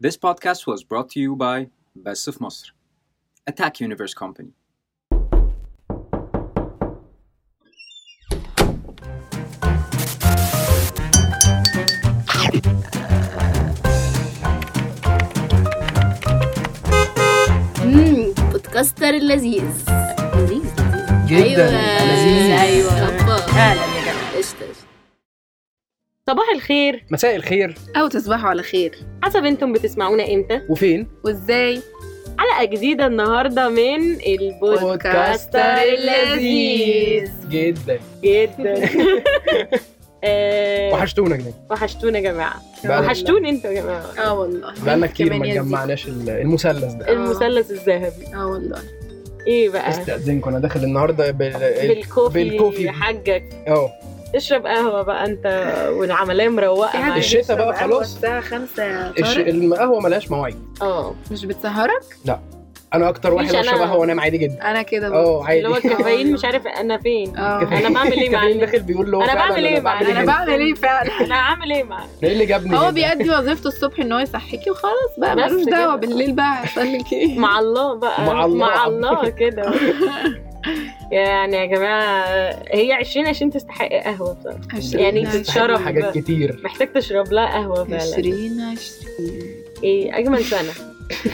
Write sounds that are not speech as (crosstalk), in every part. This podcast was brought to you by Best of Masr, Attack Universe Company. امم بودكاستر اللذيذ لذيذ جدا أيوة. لذيذ. ايوه أبا. فعلا يا جماعه قشطة قشطة. صباح الخير مساء الخير أو تصبحوا على خير حسب انتم بتسمعونا امتى وفين وإزاي حلقه جديده النهارده من البودكاستر اللذيذ جدا (laughs) جدا آه، وحشتونا جدا وحشتونا يا جماعه بقالنا- وحشتون انتوا يا جماعه آه. اه والله بقالنا كتير كمان ما يا زيزو. جمعناش ال- المثلث ده المثلث الذهبي اه والله ايه بقى استاذنكم انا داخل النهارده بال... بالكوفي بالكوفي. حاجك اه اشرب قهوه بقى انت والعمليه مروقه في حد معاك. الشتا بقى بيشرب خلاص. قهوة الساعة 5 يا الش- طارق القهوه ملهاش مواعيد اه مش بتسهرك انا اكتر واحد مش أنا- بشرب قهوه وانام عادي جدا أنا كده برضه. اه عادي (laughs) اللي هو الكافيين مش عارف انا فين اه أنا بعمل إيه مع الكافيين ال- داخل بيقول له أنا فعلا بعمل إيه مع- أنا هنا؟ بعمل إيه (laughs) فعلا انا عامل ايه معاك ده ايه اللي جابني هو هنا؟ بيأدي وظيفته الصبح إن هو يصحيكي وخلاص بقى بس ملوش كده. دعوة بالليل بقى هيحصل لك إيه مع الله بقى مع الله. مع الله (laughs) كده يعني يا جماعه هي 20 20 تستحق قهوه بصراحه عشرين يعني عشرين. تتشرب حاجات بقى. كتير محتاج تشرب لها قهوه فعلا عشرين عشرين ايه اجمل سنه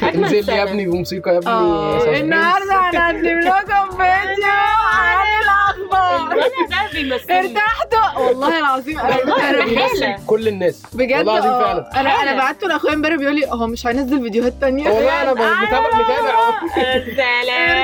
اجمل انزل لي يا سنه ابني بموسيقى يا آه، اه ابني (laughs) النهارده هنقدم لكم فيديو عن الأخبار الواد ده بيمثلني ارتحتوا والله العظيم والله أنا بحس- بيمثل كل الناس بجد والله العظيم اه. فعلا. انا فعلا. انا بعته لاخويا امبارح بيقول لي هو مش هينزل فيديوهات تانية والله انا متابع متابع أهو. يا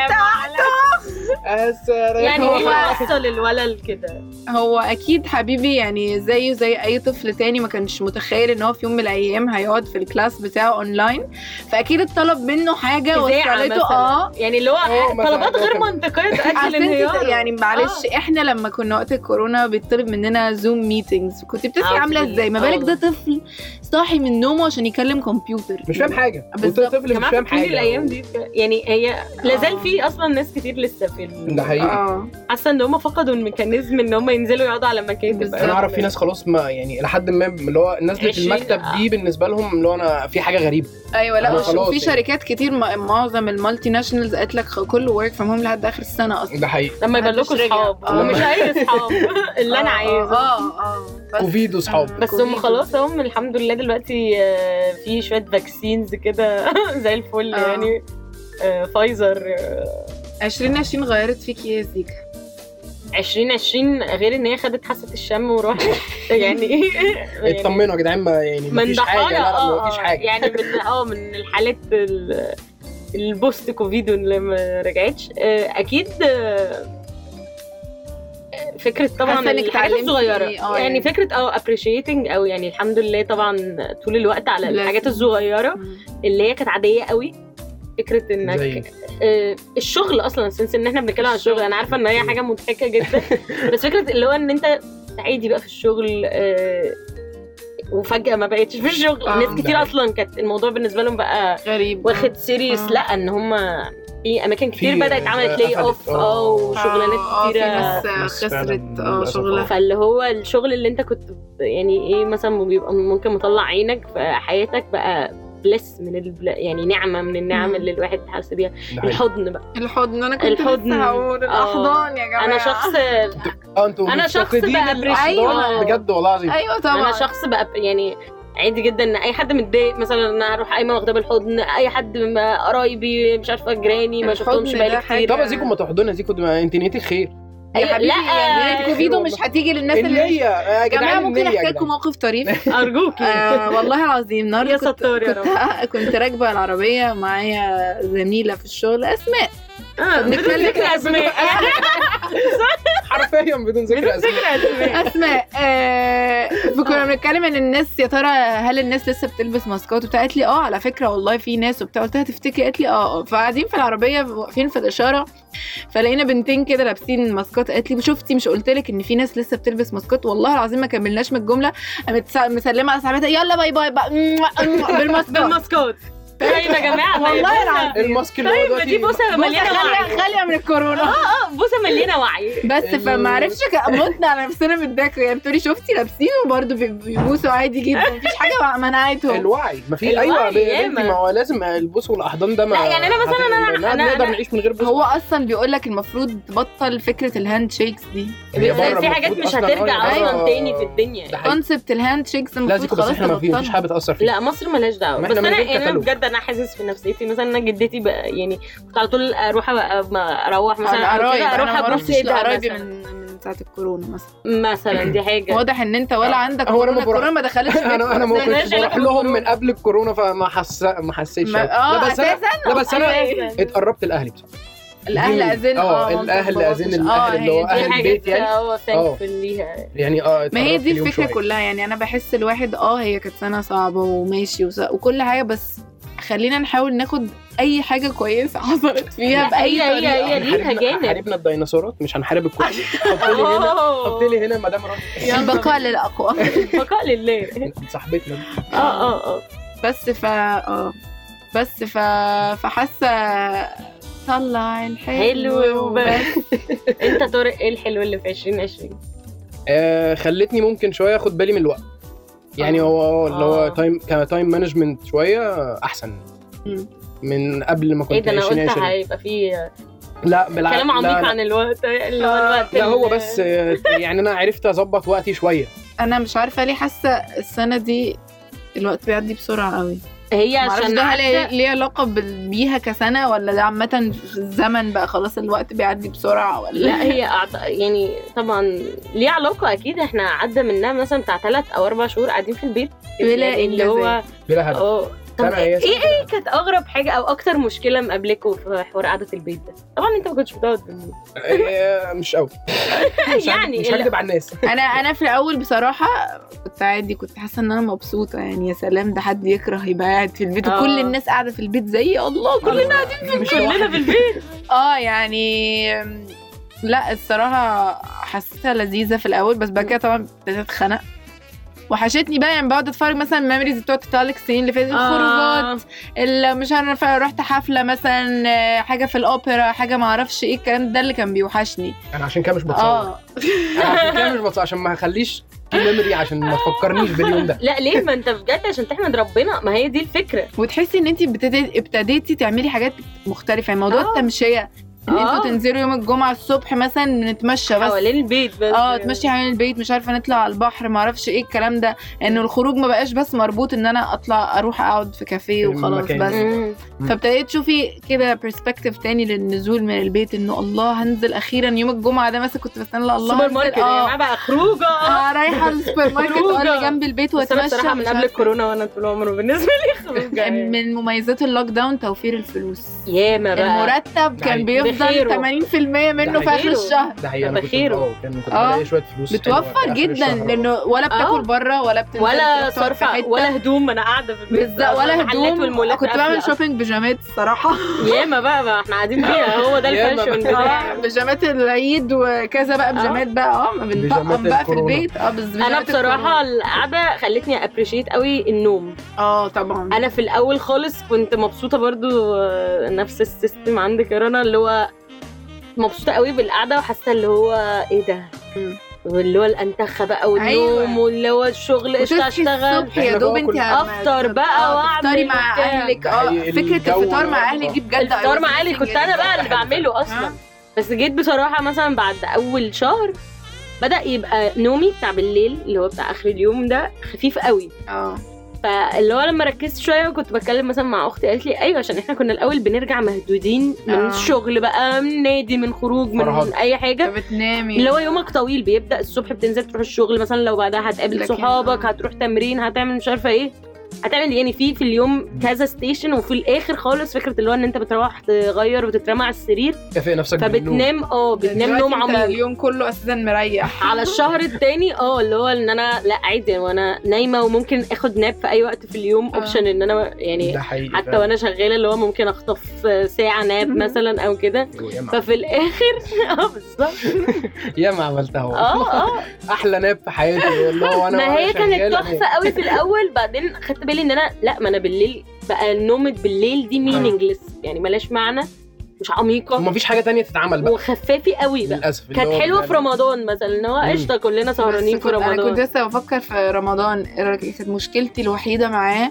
سلام السلام. يعني ايه هو- اللي وصل الولد كده هو اكيد حبيبي يعني زيه زي اي طفل تاني ما كانش متخيل ان هو في يوم من الايام هيقعد في الكلاس بتاعه اونلاين فاكيد اتطلب منه حاجه إذاعة وصلته اه مثلا يعني اللي هو آه، مثلا طلبات غير مثلا. منطقيه تؤدي عشان انت للانهيار يعني معلش احنا لما كنا وقت الكورونا بيطلب مننا زوم ميتينجز كنت بتبقي أعوذ عامله بالله. ازاي ما بالك ده آه. طفل صاحي من نومه عشان يكلم كمبيوتر مش فاهم حاجه بالظبط. يا طفل مش جماعه فاهم كل حاجه الايام دي يعني هي لازال في اصلا ناس كتير لسه في ال- ده حقيقي اه حاسه ان هم فقدوا الميكانيزم ان هم ينزلوا يقعدوا على مكاتب بالظبط. انا اعرف في ناس خلاص ما يعني لحد ما اللي هو نزله 20 المكتب دي بالنسبه لهم اللي هو انا في حاجه غريبه ايوه أنا لا خلاص وفي يعني. شركات كتير ما- معظم المالتي ناشونالز قالت لك خ- كله ورك فروم هوم لحد اخر السنه اصلا ده حقيقي لما يبقى لكم محدش رجع. اصحاب آه. هم مش اي اصحاب اللي انا آه، عايزه اه اه بس كوفيد وصحاب بس آه. هم خلاص هم الحمد لله دلوقتي آه، في شويه فاكسينز كده (laughs) زي الفل آه. يعني آه، فايزر آه، 2020 غيرت فيك ايه يا زيكا؟ 2020 غير ان هي خدت حاسه (laughs) الشم وراحت يعني (laughs) يعني اطمنوا يا جدعان ما يعني ما فيش حاجه لا لا ما اه فيش آه. حاجه يعني من اه من الحالات ال- البوست كوفيد اللي ما رجعتش آه، اكيد آه، فكره طبعا حاسة إنك الحاجات اتعلمتي الصغيره إيه؟ آه، يعني يعني. فكره اه ابريشيتنج او يعني الحمد لله طبعا طول الوقت على لازم. الحاجات الصغيره اللي هي كانت عاديه قوي فكره زي؟ إيه؟ انك آه، الشغل اصلا سنس ان احنا بنتكلم عن الشغل انا عارفه ان هي حاجه مضحكه (laughs) جدا بس فكره اللي هو ان انت عادي بقى في الشغل آه، وفجاه ما بقتش في الشغل آه. ناس لا. كتير اصلا كانت الموضوع بالنسبه لهم بقى غريب واخد سيريس آه. لا ان هم في اماكن كتير في- بدات عملت قفلت. لي اوف اه آه. وشغلانات كتيره بس بس فعلاً خسرت اه للأسف شغلها فاللي هو الشغل اللي انت كنت يعني ايه مثلا بيبقى ممكن مطلع عينك فحياتك بقى بلس من البل... يعني نعمه من النعم مم. اللي الواحد بيحس بيها ده حقيقي. الحضن بقى الحضن انا كنت الحضن. لسه هقول آه. الاحضان يا جماعه انا شخص اه انتوا أنا شخص مفتقدين بقى البريشيشن أيوة. بجد والله العظيم ايوه طبعا انا شخص بقى يعني عادي جدا ان اي حد متضايق مثلا انا هروح قايمه واخداه بالحضن اي حد ما- قرايبي مش عارفه جيراني ما الحضن شفتهمش ده بقالي حاجة- كتير طب يا زيكو ما تحضنها زيكو دي ما انت نيتك خير يا أيوة، حبيبي لا يعني كوفيد ومش هتيجي للناس اللي النية آه، يا يا جماعه جدعان ممكن النية يا احكي لكم جدعان. موقف طريف (laughs) ارجوكي آه والله العظيم النهارده يعني. يا كنت ستار يا كنت, كنت راكبه العربيه معايا زميله في الشغل اسماء آه، بدون بنتكلم- (laughs) ذكر اسماء حرفيا بدون ذكر بدون اسماء ذكر اسماء اسماء آه فكنا بنتكلم ان الناس يا ترى هل الناس لسه بتلبس ماسكات وبتاع قالت لي اه على فكره والله في ناس وبتاع قلت لها تفتكري قالت لي اه اه فقاعدين في العربيه واقفين في الاشاره فلقينا بنتين كده لابسين ماسكات قالت لي شفتي مش قلت لك ان في ناس لسه بتلبس ماسكات والله العظيم ما كملناش من الجمله قامت سا- مسلمه على صاحبتها يلا باي باي بقى بالماسكات بالماسكات طيب يا جماعه طيب والله بوسة- العظيم. الماسك اللي هو طيب ما دلوقتي دي بوسه مليانه وعي غالية غالية من الكورونا اه بوسه مليانه وعي بس فما عرفش متنا على نفسنا من ده يعني بتقولي شفتي لابسينه برضه بي- بيبوسوا عادي جدا مفيش حاجة منعتهم الوعي ما في الوعي ايوه يا ياما. بنتي ما هو لازم البوس والاحضان ده ما لا، يعني أنا مثلاً أنا- ما أنا- نقدر أنا- نعيش من غير بوس هو اصلا بيقول لك المفروض تبطل فكره الهاند شيكس دي هي بره في حاجات المفروض مش أصلاً هترجع أه، اصلا آه، تاني في الدنيا ده حقيقي. كونسبت الهاند شيكس لا المفروض زيكو بس خلاص احنا ما في مفيش تبطلها حاجه بتاثر فيه لا مصر ملهاش دعوه ما بس إحنا انا من غير يعني انا تكلف. بجد انا حاسس في نفسيتي مثلا انا جدتي بقى يعني كنت على طول اروح أبقى- ما اروح مثلا انا أو كده قرايب اروح انا ما ابوس رحتش ايدها لقرايبي مثلا. من من ساعه الكورونا مثلا مثلا دي (clears throat) يعني حاجه واضح ان انت آه. ولا عندك هو (laughs) أنا كورونا ما بروح- الكورونا ما دخلتش (laughs) انا انا ما بيتك. ملهاش كنتش علاقة بروح لهم بالكورونا. من قبل الكورونا فما حس ما حسيتش ما- أوي. اه لا بس انا اساسا لا بس انا أساساً. اتقربت الاهلي بصراحه الاهل دي- اذن اه مامتك الاهل باباك اذن مش- الاهل اللي هو آه، هي دي دي اهل الحاجة. البيت حاجه يعني اه آه. thankful ليها يعني اه ما هي اتقربت دي ليهم الفكره شوية. كلها يعني انا بحس الواحد اه هي كانت سنه صعبه وماشي وس- وكل حاجه بس خلينا نحاول ناخد اي حاجه كويسه (laughs) حصلت فيها لا، باي هي- هي- طريقه هي ليها هنحاربنا- جانب. هنحاربنا الديناصورات مش (laughs) هنحارب الكورونا حط لي هنا حط لي هنا مدام رامي البقاء للاقوى بقاء لله (laughs) صاحبتنا دي. اه اه اه بس ف اه بس ف فحاسه طلع الحلو حلو وبس. وبس انت طارق ايه الحلو اللي في 2020 آه، خلتني ممكن شويه اخد بالي من الوقت يعني هو اللي هو آه. تايم كتايم مانجمنت شويه احسن مم. من قبل ما كنت ايه ده انا قلت 20 هيبقى فيه لا بالعكس كلام عميق لا, لا. عن الوقت اللي هو الوقت لا هو اللي- بس آه، يعني انا عرفت اظبط وقتي شويه انا مش عارفه ليه حاسه السنه دي الوقت بيعدي بسرعه قوي هي معرفش عشان ده هل عارفة- ليه علاقه بال- بيها كسنه ولا ده عامه في الزمن بقى خلاص الوقت بيعدي بسرعه ولا لا هي أعط... يعني طبعا ليه علاقه اكيد احنا عدى منها مثلا بتاع ثلاث او اربع شهور قاعدين في البيت يعني بلا اللي هو بلا هدف اه طب سنة ايه هي سنة. ايه كانت اغرب حاجه او اكتر مشكله مقابلكوا في حوار قعده البيت ده طبعا انت ما كنتش بتقعد في البيت. آه، مش قوي مش (laughs) هكدب- يعني مش هكدب على (laughs) الناس انا انا في الاول بصراحه كنت عادي كنت حاسه ان انا مبسوطه يعني يا سلام ده حد يكره يبقى قاعد في البيت آه. وكل الناس قاعده في البيت زي الله كلنا مش كلنا في البيت اه يعني لا الصراحة حسيتها لذيذة في الأول بس بعد كده طبعا ابتديت أتخنق وحشتني بقى يعني بقعد اتفرج مثلا الميموريز بتوع تتعلق السنين اللي فاتت (laughs) آه. الخروجات اللي مش عارفه رحت حفله مثلا آه، حاجه في الاوبرا حاجه ما اعرفش ايه الكلام ده اللي كان بيوحشني انا عشان كده مش آه. بتصور اه انا عشان كده مش بتصور عشان ما هخليش ميموري عشان ما تفكرنيش باليوم ده لا ليه ما انت بجد عشان تحمد ربنا ما هي دي الفكره وتحسي ان انت ابتديتي ابتديتي تعملي حاجات مختلفه يعني موضوع آه. التمشيه ان آه. انتوا تنزلوا يوم الجمعه الصبح مثلا نتمشى بس حوالين البيت بس اه تمشي حوالين البيت مش عارفه نطلع على البحر ما اعرفش ايه الكلام ده انه الخروج ما بقاش بس مربوط ان انا اطلع اروح اقعد في كافيه في وخلاص المكان. بس مم. فابتديت تشوفي كده برسبكتيف تاني للنزول من البيت انه الله هنزل اخيرا يوم الجمعه ده مثلا كنت بستنى لا الله سوبر هنزل، ماركت يا جماعه بقى خروجه آه، رايحه السوبر ماركت اه اللي خروجة. جنب البيت بس انا واتمشى بصراحه من مش قبل عارفة. الكورونا وانا طول عمره بالنسبه لي خروجه يعني. من مميزات اللوك داون توفير الفلوس ياما بقى المرتب كان يعني بيفضل بخيره. يعني 80% منه في اخر بخيره. الشهر ده هي انا كنت بخيره. اه كان كنت آه. بلاقي شويه فلوس يعني بتوفر جدا لانه ولا بتاكل بره ولا بتنزل آه. ولا تروح تقعد في صرف حتة. ولا هدوم ما انا قاعده في البيت بالظبط ولا المحلات هدوم والمولات كنت قافلة. بعمل شوبينج بيجامات الصراحه ياما بقى ما احنا قاعدين فيها هو ده ياما الفاشن اه. بقى. (laughs) بتاعنا. بيجامات العيد وكذا بقى بيجامات آه. بقى اه ما بنطقم بيجامات بقى في الكورونا. البيت اه بس انا بيجامات الكورونا. بصراحه القعده خلتني ابريشيت قوي النوم اه طبعا انا في الاول خالص كنت مبسوطه برضو آه، نفس السيستم عند كيرانا اللي هو مبسوطه قوي بالقعده وحاسه اللي هو ايه ده مم. واللي هو الانتخه بقى والنوم أيوة. أيوة. واللي هو الشغل قشطه وتصحي اشتغل الصبح يا إحنا دوب بقى انت كل- أفطر بقى وأعمل افطري مع وبتاع. اهلك اه يعني فكره الجو الفطار مع والأرض. اهلي دي بجد الفطار مع أيوة، اهلي كنت انا بقى اللي بعمله اصلا آه. بس جيت بصراحه مثلا بعد اول شهر بدا يبقى نومي بتاع بالليل اللي هو بتاع اخر اليوم ده خفيف قوي اه فاللي هو لما ركزت شويه وكنت بتكلم مثلا مع اختي قالت لي ايوه عشان احنا كنا الاول بنرجع مهدودين من آه. الشغل بقى من نادي من خروج من فرهضة. اي حاجه فبتنامي اللي هو يومك طويل بيبدا الصبح بتنزل تروح الشغل مثلا لو بعدها هتقابل لكن- آه. صحابك هتروح تمرين هتعمل مش عارفه ايه هتعمل يعني في في اليوم كذا ستيشن وفي الاخر خالص فكره اللي هو ان انت بتروح تغير وتترمى على السرير كافئ نفسك بالنوم. فبتنام اه بتنام آه، دلوقتي نوم أنت عميق اليوم كله اساسا مريح على الشهر التاني اه اللي هو ان انا لا عادي وانا نايمه وممكن اخد ناب في اي وقت في اليوم آه. اوبشن ان انا يعني ده حقيقي حتى فعلا. وانا شغاله اللي هو ممكن اخطف ساعه ناب مم. مثلا او كده ياما- ففي الاخر (laughs) اه بالظبط ياما عملتها والله. (laughs) اه اه احلى ناب في حياتي والله وانا ما وأنا يعني. هي كانت شغال. تحفه قوي في الاول بعدين خدت بالي ان انا لا ما انا بالليل بقى نومة بالليل دي آه. مينينجلس يعني ملاش معنى مش عميقه ومفيش حاجه تانية تتعمل بقى وخفافي قوي بقى للاسف اللي (laughs) كانت هو حلوه بقى- في رمضان مثلا ان هو مم. قشطه كلنا سهرانين بس في كنت- انا كنت رمضان لسه بفكر في رمضان إيه كانت مشكلتي الوحيده معاه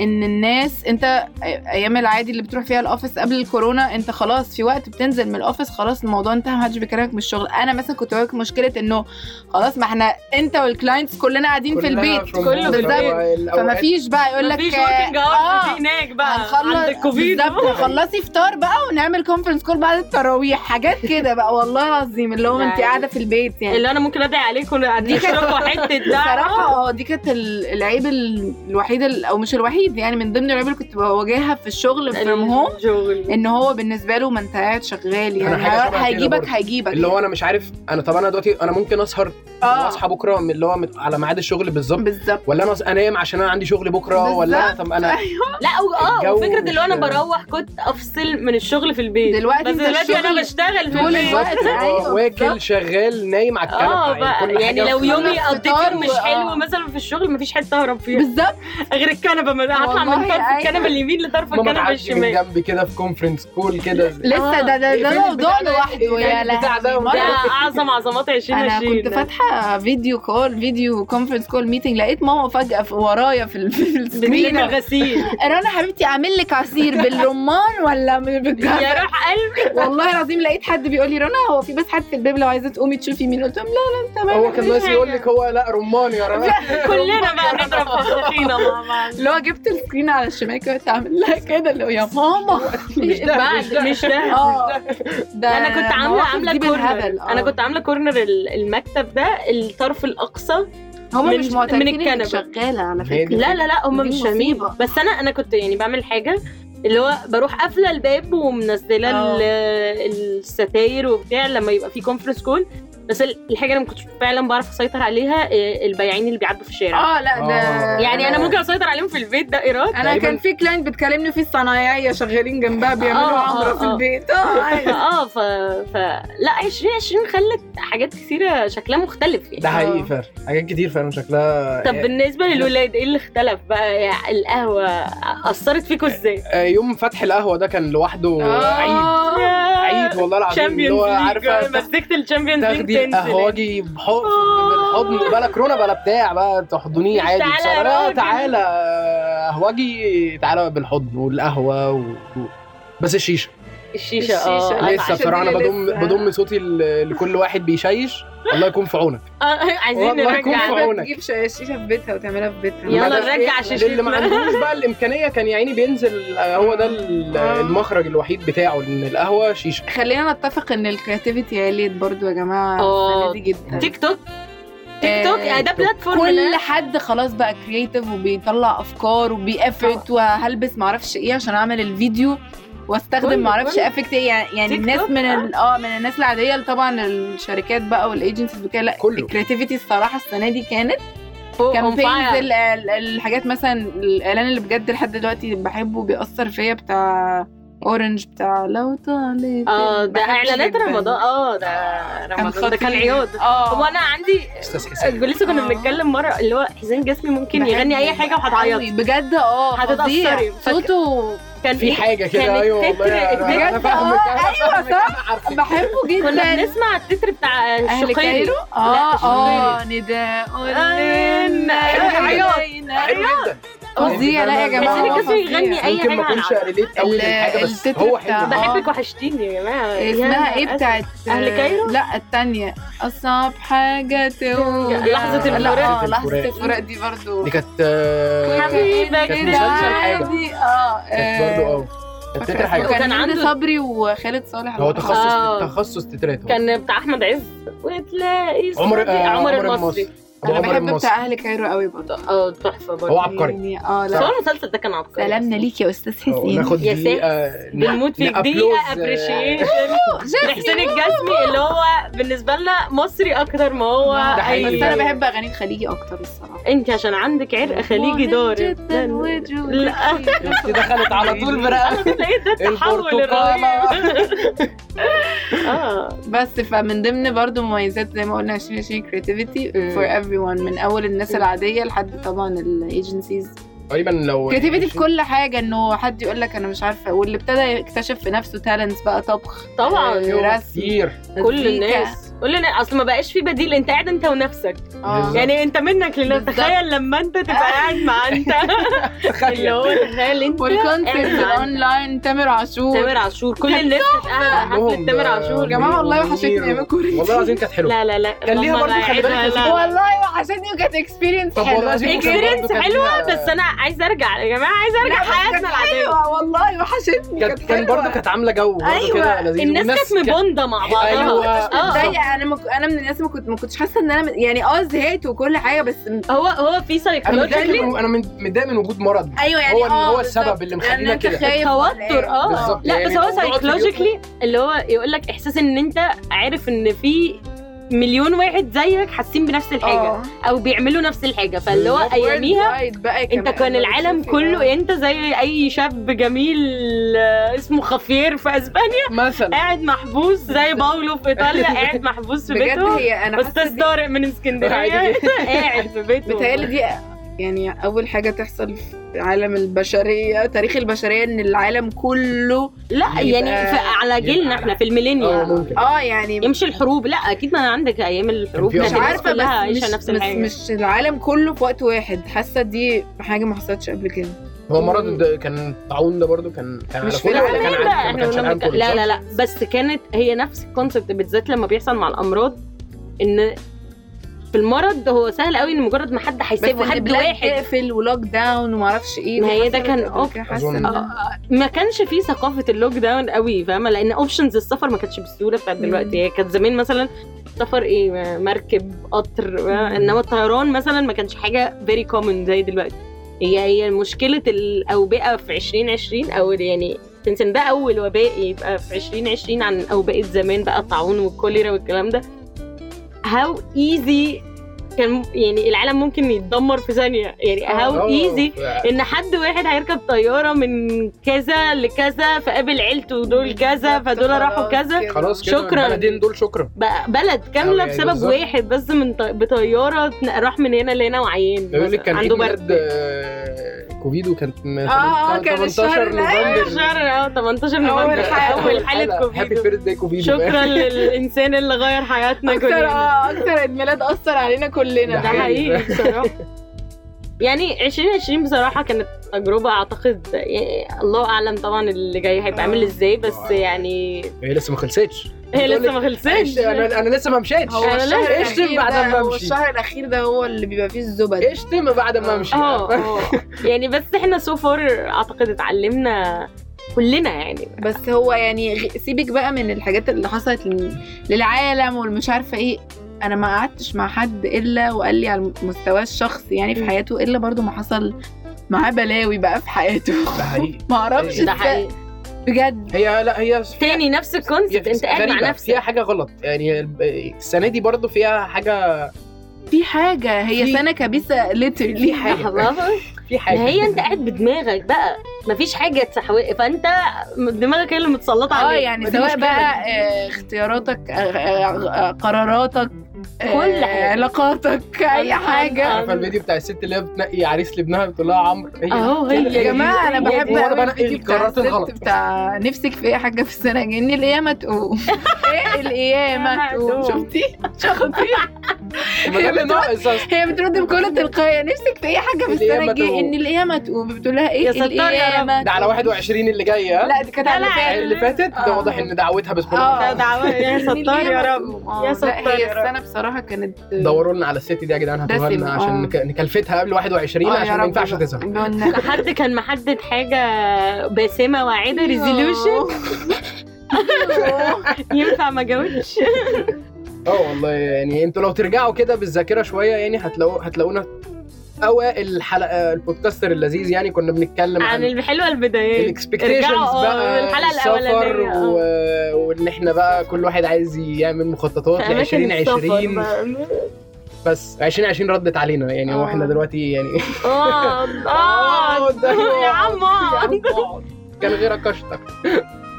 ان الناس انت ايام العادي اللي بتروح فيها الاوفيس قبل الكورونا انت خلاص في وقت بتنزل من الاوفيس خلاص الموضوع انتهى محدش بيكلمك من الشغل انا مثلا كنت واجهت مشكله انه خلاص ما احنا انت والكلاينتس كلنا قاعدين في كلها البيت from كله home، في فهو البيت. الأوقات- فما فيش بقى يقول لك آه، مفيش working hours دي هناك بقى عند الكوفيد بالظبط خلصي فطار بقى ونعمل كونفرنس كول بعد التراويح حاجات كده بقى والله العظيم اللي هو (laughs) لا، انت قاعده في البيت يعني اللي انا ممكن ادعي عليكم قاعدين دي كانت- تشربوا (laughs) حته بصراحة ده اه دي كانت ال- العيب ال- الوحيد ال- او مش الوحيد يعني من ضمن العيب اللي كنت بواجهها في الشغل في هوم الشغل. ان هو بالنسبة له ما انت قاعد شغال يعني أنا حاجة شبه كده هيجيبك برضه. هيجيبك اللي هو انا مش عارف انا طب انا دلوقتي انا ممكن اسهر آه. واصحى بكره من اللي هو مت- على ميعاد الشغل بالظبط (laughs) بالظبط ولا انا أص- انام عشان انا عندي شغل بكره ولا انا طب انا أيوه. لا أو اه الجو وفكره اللي هو انا مش- بروح كنت افصل من الشغل في البيت دلوقتي إيه، بس انت دلوقتي انا الشغل بشتغل في (laughs) طول البيت الوقت. (laughs) بالظبط، أيوة، آه، واكل بالظبط. شغال نايم على اه الكنبه يعني بقى كل يعني حاجة لو في- يومي قضيت فطار يوم مش و- آه. حلو مثلا في الشغل مفيش حته اهرب فيها (laughs) بالظبط (laughs) غير الكنبه ما أنا هطلع من والله طرف أيوة. الكنبه اليمين لطرف ماما الكنبه تعدي من الشمال جنبي كده في كونفرنس كول كده زي- لسه ده ده البيت (laughs) ده موضوع بتاع ده، لوحده يا (laughs) يعني البيت بتاع ده ده لهوي اعظم عظمات 2020 انا كنت ده. فاتحه فيديو كول فيديو كونفرنس كول ميتنج لقيت ماما فجاه في ورايا في ال- في بتلم السكرين غسيل (laughs) رنا حبيبتي اعمل لك عصير بالرمان ولا بالجزر يا روح (laughs) قلبي والله العظيم لقيت حد بيقول لي رنا هو في بس حد في الباب لو عايزه تقومي تشوفي مين قلت لهم لا لا تمام هو كان ناقص يقول لك هو لا رمان (laughs) يا رنا كلنا (laughs) بقى نضرب فخاخينا مع بعض اللي هو جبت السكرين على الشباك قلت اعمل لها كده اللي هو يا ماما (laughs) مش ده بعد مش ده مش ده اه ده انا كنت عامله مواقف عامله دي آه. كورنر بالهبل انا كنت عامله كورنر ال- المكتب ده الطرف الاقصى هم من- مش من معترفين الكنبة. انك شغاله على هي دي. فكره لا لا لا هم دي مش فاهمين مصيبة. بس انا انا كنت يعني بعمل حاجه اللي هو بروح قافله الباب ومنزله آه. ال- الستاير وبتاع لما يبقى في كونفرنس كول بس ال- الحاجه اللي ما كنتش فعلا بعرف اسيطر عليها آه، البياعين اللي بيعدوا في الشارع اه لا ده آه. يعني انا ممكن اسيطر عليهم في البيت ده ايراد انا تقريباً- كان في كلاينت بتكلمني في الصنايعيه شغالين جنبها آه، بيعملوا آه، عمره في آه. البيت اه عادي. (laughs) اه ف... ف لا 2020 خلت حاجات كثيره شكلها مختلف يعني ده حقيقي فعلا حاجات كتير فعلا شكلها يعني. طب بالنسبه للولاد ايه اللي اختلف بقى يعني القهوه اثرت فيكم ازاي؟ آه، يوم فتح القهوه ده كان لوحده آه. عيد عيد والله العظيم اللي هو تشامبيونز عارفه آه، مسكت الشامبيونز تاخدي يعني. القهواجي بحضن آه. بالحضن بلا كورونا بلا بتاع بقى تحضنيه مش عادي تعالى بصراحة. يا لا راجل. تعالى قهواجي تعالى بالحضن والقهوه و... و- بس الشيشه الشيشه الشيشة. اه أنا لسه آه، عشان بصراحه دي انا بضم لسه. بضم صوتي ل- لكل واحد بيشيش الله يكون في عونك آه، عايزين والله يكون في نرجع عونك. تجيب شيشه في بيتها وتعملها في بيتها يلا مدى- نرجع اللي ما شيشتنا عندوش بقى الامكانيه كان يا عيني بينزل آه، هو ده ال- آه. المخرج الوحيد بتاعه ان القهوه شيشه خلينا نتفق ان الكرياتيفيتي عليت برضو يا جماعه آه. السنه دي جدا تيك توك تيك توك آه، آه، ده بلاتفورم كل ده. حد خلاص بقى كرييتيف وبيطلع افكار وبيقفت وهلبس معرفش ايه عشان اعمل الفيديو كل- واستخدم معرفش كل- افكت ايه يعني يعني تيك توك، الناس من آه. ال- اه من الناس العاديه اللي طبعا الشركات بقى والايجنسيز وكده لا كله. الكرياتيفيتي الصراحه السنه دي كانت فوق on كامبينز fire. ال- ال- الحاجات مثلا الاعلان اللي بجد لحد دلوقتي بحبه بيأثر فيا بتاع اورنج بتاع لو طالب اه ده بحبه اعلانات جداً. رمضان اه ده رمضان ده كان خطير. عياض هو اه انا عندي استاذ حسين لسه كنا آه. بنتكلم مره اللي هو حسين جسمي ممكن يغني اي بحبه حاجه وهتعيط قوي، بجد اه هتتأثري. فظيع. فك- صوته كان في حاجه كده كانت ايوه أيوة، والله فكرة- انا أنا بجد؟ فاهمك انا آه، أيوة، فاهمك انا عارفك بحبه كنا جدا بنسمع التتر بتاع اهل الشقيري كايرو لا، آه، اه اه الشقيري. نداء عياط. لنا حلو جدا فظيع لا يا حسين جماعه الجسمي يغني اي ممكن حاجه ما اكونش هنعرفها. ريليت قوي ال- للحاجه بس التتر هو بتاع- حلو بحبك وحشتيني يا جماعه آه. اسمها يا ايه أسف. بتاعت أهل كايرو؟ لا الثانيه اصعب حاجه توجع لحظة لا، الفراق. آه، لحظه الفراق. الفراق دي برضو دي كانت آه، حبيبك كانت ده مسلسل حاجه عادي، اه كانت برضه اه آه، كانت تتر حاجه وكان كان عنده عنده- صبري وخالد صالح هو تخصص آه. تخصص تترات هو. كان بتاع احمد عز وتلاقي عمر صوتي- آه، عمر المصري أبو انا عمر بحب المصري بتاع اهل كايرو قوي برضو اه تحفه هو برضه عبقري يعني اه بس هو لا المسلسل ده كان عبقري سلامنا ليك يا استاذ آه، حسين ناخد آه، يا دقيقه بنموت فيك دقيقه ابريشيشن يعني لحسين الجسمي اللي هو بالنسبه لنا مصري اكتر ما هو ده أيوة. بس حقيقي. أي- انا بحب اغاني الخليجي اكتر الصراحه انت عشان عندك عرق خليجي ضارب جدا لا. آه، دي دخلت على طول برقبه انا لقيت ده التحول الرهيب البرتقاله اه بس فمن ضمن برضو مميزات زي ما قلنا 2020 كريتيفيتي مم. فور ايفري ون من اول الناس العاديه لحد طبعا الايجنسيز تقريبا لو كريتيفيتي في كل حاجه انه حد يقول لك انا مش عارفه واللي ابتدى يكتشف في نفسه تالنتس بقى طبخ طبعا آه، رسم كتير كل مزيكا. الناس كل الناس اصل ما بقاش في بديل انت قاعد انت ونفسك اه بالظبط. يعني انت منك لله بالظبط. تخيل لما انت (laughs) تبقى قاعد مع انت اللي هو تخيل انت قاعد والكونسرت مع انت. اونلاين تامر عاشور تامر عاشور كل الناس كانت قاعدة حفلة عندهم، تامر آه، يا عاشور جماعه والله منير وحشتني ايام كوريا والله العظيم كانت حلوه لا لا لا كان ليها ماما برضه خلي بالك لا، لا، (laughs) لا. والله وحشتني وكانت اكسبيرينس طب والله حلوه العظيم كانت فكرة. experience برضه كانت حلوة ليها- بس انا عايزه ارجع يا جماعه عايزه لا، ارجع بس كانت حياتنا العاديه حلوة، والله وحشتني كانت كان حلوة. برضه كانت عامله جو برضه أيوة. كده لذيذ الناس كانت مبونده مع بعضها أيوة. اه متضايقه انا مك... انا من الناس ما كنت ما كنتش حاسه ان انا من- يعني اه زهقت وكل حاجه بس م- هو هو في انا متضايق سايكولوجيكلي من- انا من- متضايق من وجود مرض أيوة، ايوه يعني هو إن اه هو بالظبط. السبب اللي مخلينا لأن أنت كده. خايف آه، إيه؟ توتر وقلقان. اه بالظبط. لا بس يعني هو الموضوع سايكولوجيكلي اللي هو يقول لك احساس ان انت عارف ان في مليون واحد زيك حاسين بنفس الحاجه اه او بيعملوا نفس الحاجه فاللي هو بالظبط. اياميها Worldwide بقى انت كمان. كان العالم بتشوفي كله إيه؟ بقى. انت زي اي شاب جميل آه، اسمه خافير في اسبانيا مثلا قاعد محبوس زي باولو (laughs) في ايطاليا قاعد محبوس في بجد بيته هي انا حاسة استاذ دي- طارق من اسكندريه قاعد في بيته بتهيألي دي يعني اول حاجه تحصل في عالم البشريه تاريخ البشريه ان العالم كله لا يعني في- على جيلنا احنا في اه الميلينيوم ممكن اه يعني يمشي الحروب لا اكيد ما عندك ايام الحروب كان في مش كانت الناس عارفه كلها بس عايشه مش, نفس مش, الحاجه مش العالم كله في وقت واحد حاسه دي حاجه ما حصلتش قبل كده هو مرض ده كان طاعون ده برضه كان كان على مش كل في ولا العالم كان لا على- ما احنا كانش على قلنا العالم بك- كله؟ لا لا لا بس كانت هي نفس الكونسبت بالذات لما بيحصل مع الامراض ان في المرض هو سهل قوي ان مجرد ما حد هيسيبه بس حد البلاد واحد تقفل ولوك داون وما اعرفش ايه ما هي ده حصلت كان قبل كده، حاسه أظن. إن- ما كانش فيه ثقافه اللوك داون قوي فاهمه لان اوبشنز السفر ما كانتش بالسهوله بتاعت مم. دلوقتي هي كانت زمان مثلا سفر ايه مركب قطر انما الطيران مثلا ما كانش حاجه فيري كومن زي دلوقتي هي هي مشكله الاوبئه في 2020 او يعني تنسن ده اول وباء يبقى في 2020 عن اوبئه زمان بقى الطاعون والكوليرا والكلام ده هاو ايزي كان يعني العالم ممكن يتدمر في ثانيه يعني هاو اه، ايزي ف- ان حد واحد هيركب طياره من كذا لكذا فقابل عيلته دول كذا فدول راحوا خلاص كذا كده. خلاص كده شكراً. البلدين دول شكرا بقى بلد كامله أوي، أيوة بسبب بالظبط. واحد بس من طي... بطياره تن- راح من هنا لهنا وعيان بيقول لك مثلاً. كان عنده عنده برد برد آه، كوفيد وكانت م- آه، كان 18 الشهر اللي- نوفمبر. شهر اه 18 نوفمبر حالة. اول حاله هابي كوفيد بيرث كوفيد شكرا للانسان اللي غير حياتنا اكتر كلنا اه اكتر عيد ميلاد اثر علينا كلنا ده حقيقي بصراحه يعني 2020 بصراحه كانت تجربه اعتقد يعني الله اعلم طبعا اللي جاي هيبقى عامل آه. ازاي بس آه. يعني هي لسه ما خلصتش هي بتقول إيه، لسه لك ما خلصتش عشت- انا انا لسه ما مشيتش هو أنا الشهر لازم أشتم الأخير بعد ده- ما هو أمشي. الشهر الاخير ده هو اللي بيبقى فيه الزبد اشتم بعد ما امشي اه (laughs) آه. يعني بس احنا سو فار اعتقد اتعلمنا كلنا يعني بس هو يعني غ- سيبك بقى من الحاجات اللي حصلت لل- للعالم والمش عارفه ايه انا ما قعدتش مع حد الا وقال لي على مستواه الشخصي يعني في م. حياته الا برضو ما حصل معاه بلاوي بقى في حياته (laughs) ده حقيقي ما اعرفش ده ده إزاي. حقيقي بجد هي لا هي فيها- تاني نفس الكونسيبت انت قاعد غريبة. مع فيها نفسك حاجه غلط يعني الب- السنه دي برضو فيها حاجه في حاجه هي في- سنه كبيسه ليترلي (laughs) في حاجه لحظة. في ما حاجه هي انت قاعد بدماغك بقى مفيش حاجه تسحوق فانت دماغك هي اللي متسلطه اه عليك يعني ما دي سواء مشكلة. بقى (laughs) آه، اختياراتك آه، آه، آه، قراراتك آه، كل حاجة. علاقاتك اي أنا- حاجه أنا- عارفه الفيديو بتاع الست اللي هي بتنقي عريس لابنها بتقول لها عمرو هي يعني اهو هي يا جماعه انا هي بحب دي. وأنا أوي بنقي الفيديو بتاع القرارات الست الغلط. بتاع نفسك في اي حاجه في السنه جايه ان الايام تقوم (laughs) ايه الايام يا تقوم معدوم. شفتي شفتي (laughs) ما ده اللي (laughs) ناقص أصلاً. هي بترد بكل تلقائيه نفسك في اي حاجه في الأيام السنه الجايه تقوم. ان الايام تقوم بتقول لها ايه يا ستار يا الأيام رب. ده على تقوم. 21 اللي جاي ها؟ لا دي كانت لا، على لا، فاتت. اللي فاتت ده آه. واضح ان دعوتها بسم الله اه ده دعوة (laughs) يا إن ستار يا الأيام رب. تقوم. آه، يا لا، ستار هي يا رب. السنه بصراحه كانت دوروا لنا على الست دي يا جدعان هاتوها دسم، لنا آه. عشان نك- نكلفتها قبل 21 آه، يا عشان ما رب ينفعش بقى. تزهق (laughs) بن- حد كان محدد حاجه باسمه واعده ريزولوشن (laughs) ينفع ما جاوبش اه والله يعني انتوا لو ترجعوا كده بالذاكره شويه يعني هتلاقوا هتلاقونا اوائل الحلقه البودكاستر اللذيذ يعني كنا بنتكلم عن عن الحلوه البدايات الاكسبكتيشنز ارجعوا، آه، بقى الحلقة السفر آه. الأولانية، و... وان احنا بقى كل واحد عايز يعمل مخططات ل 2020 بس 2020 ردت علينا يعني هو آه. احنا دلوقتي (laughs) يعني اه اه اقعد، آه، يا عم اقعد. يا آه. (laughs) عم اقعد. كان غيرك اشطر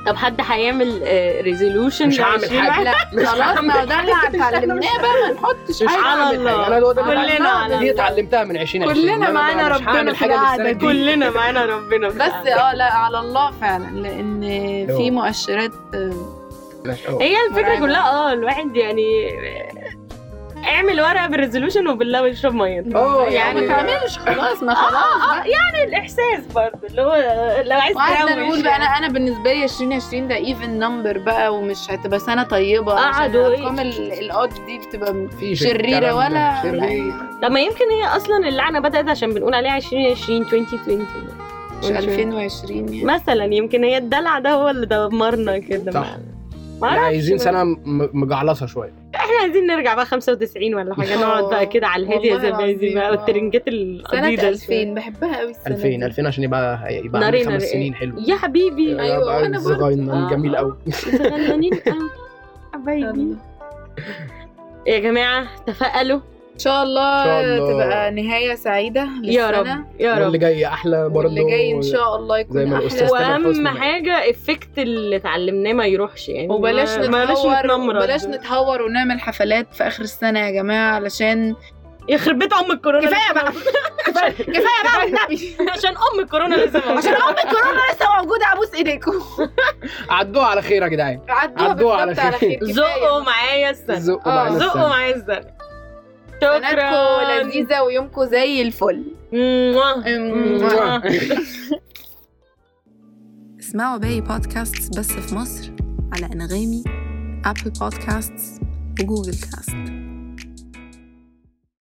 طب حد هيعمل آه، ريزولوشن مش هعمل (laughs) حاجة. لا مش خلاص ما هو ده اللي اتعلمناه بقى ما نحطش مش حاجة على على الله. الحاجة. انا هو ده اللي كلنا اتعلمته. على الله. دي اتعلمتها من 20 كلنا معانا ربنا في القعدة دي. كلنا معانا ربنا في بس العالم. اه لا على الله فعلا لان في أوه. مؤشرات هي الفكره مرعبة. كلها اه الواحد يعني اعمل ورقه بالريزولوشن وبالله واشرب ميه اه يعني يعني ما تعملش خلاص ما خلاص اه يعني الاحساس برضه اللي هو آه، لو عايز وقعدنا نقول تروش بقى انا يعني. انا بالنسبه لي 2020 ده ايفن نمبر بقى ومش هتبقى سنه طيبه عشان قعدوا إيه؟ الارقام ال- الاود دي بتبقى في شريره ولا شريرة. طب ما يمكن هي اصلا اللعنه بدات عشان بنقول عليها 2020 2020 مش 2020 يعني مثلا يمكن هي الدلع ده هو اللي دمرنا كده صح. ما احنا أعرفش عايزين بقى. سنه م- مجعلصه شويه احنا عايزين نرجع بقى 95 (laughs) ولا حاجه نقعد بقى كده على الهادي يا والله زبادي العظيم. بقى آه. والترنجات سنه القديده 2000 بحبها قوي السنه 2000 دي. 2000 عشان يبقى يبقى ناري عندي خمس ناري. سنين حلو يا حبيبي (laughs) أيوة، وأنا برضه. صغير آه. جميل قوي صغننين قوي حبايبي يا جماعه تفائلوا ان شاء الله, إن شاء الله. تبقى نهايه سعيده يا للسنه رب يا واللي رب جاي احلى برضه واللي جاي ان شاء الله زي يكون ما احلى الأستاذ تامر واهم حسني. حاجه افكت اللي اتعلمناه ما يروحش يعني وبلاش ما- بلاش نتهور نتنمرد بلاش نتهور ونعمل حفلات في اخر السنه يا جماعه علشان يخرب بيت ام الكورونا كفايه بقى (laughs) كفايه بقى والنبي عشان ام الكورونا لسه موجودة. عشان ام الكورونا لسه موجوده ابوس ايديكم عدوها على خير يا جدعان عدوها عدوها بالظبط على على خير كفاية. زقوا معايا السنه زقوا آه، معانا زقوا السنة. معايا السنه سنتكم شكرا لذيذه ويومكم زي الفل مواه. أمم. آه. مواه. اسمعوا باقي بودكاستس بس في مصر على أنغامي أبل بودكاستس وجوجل كاست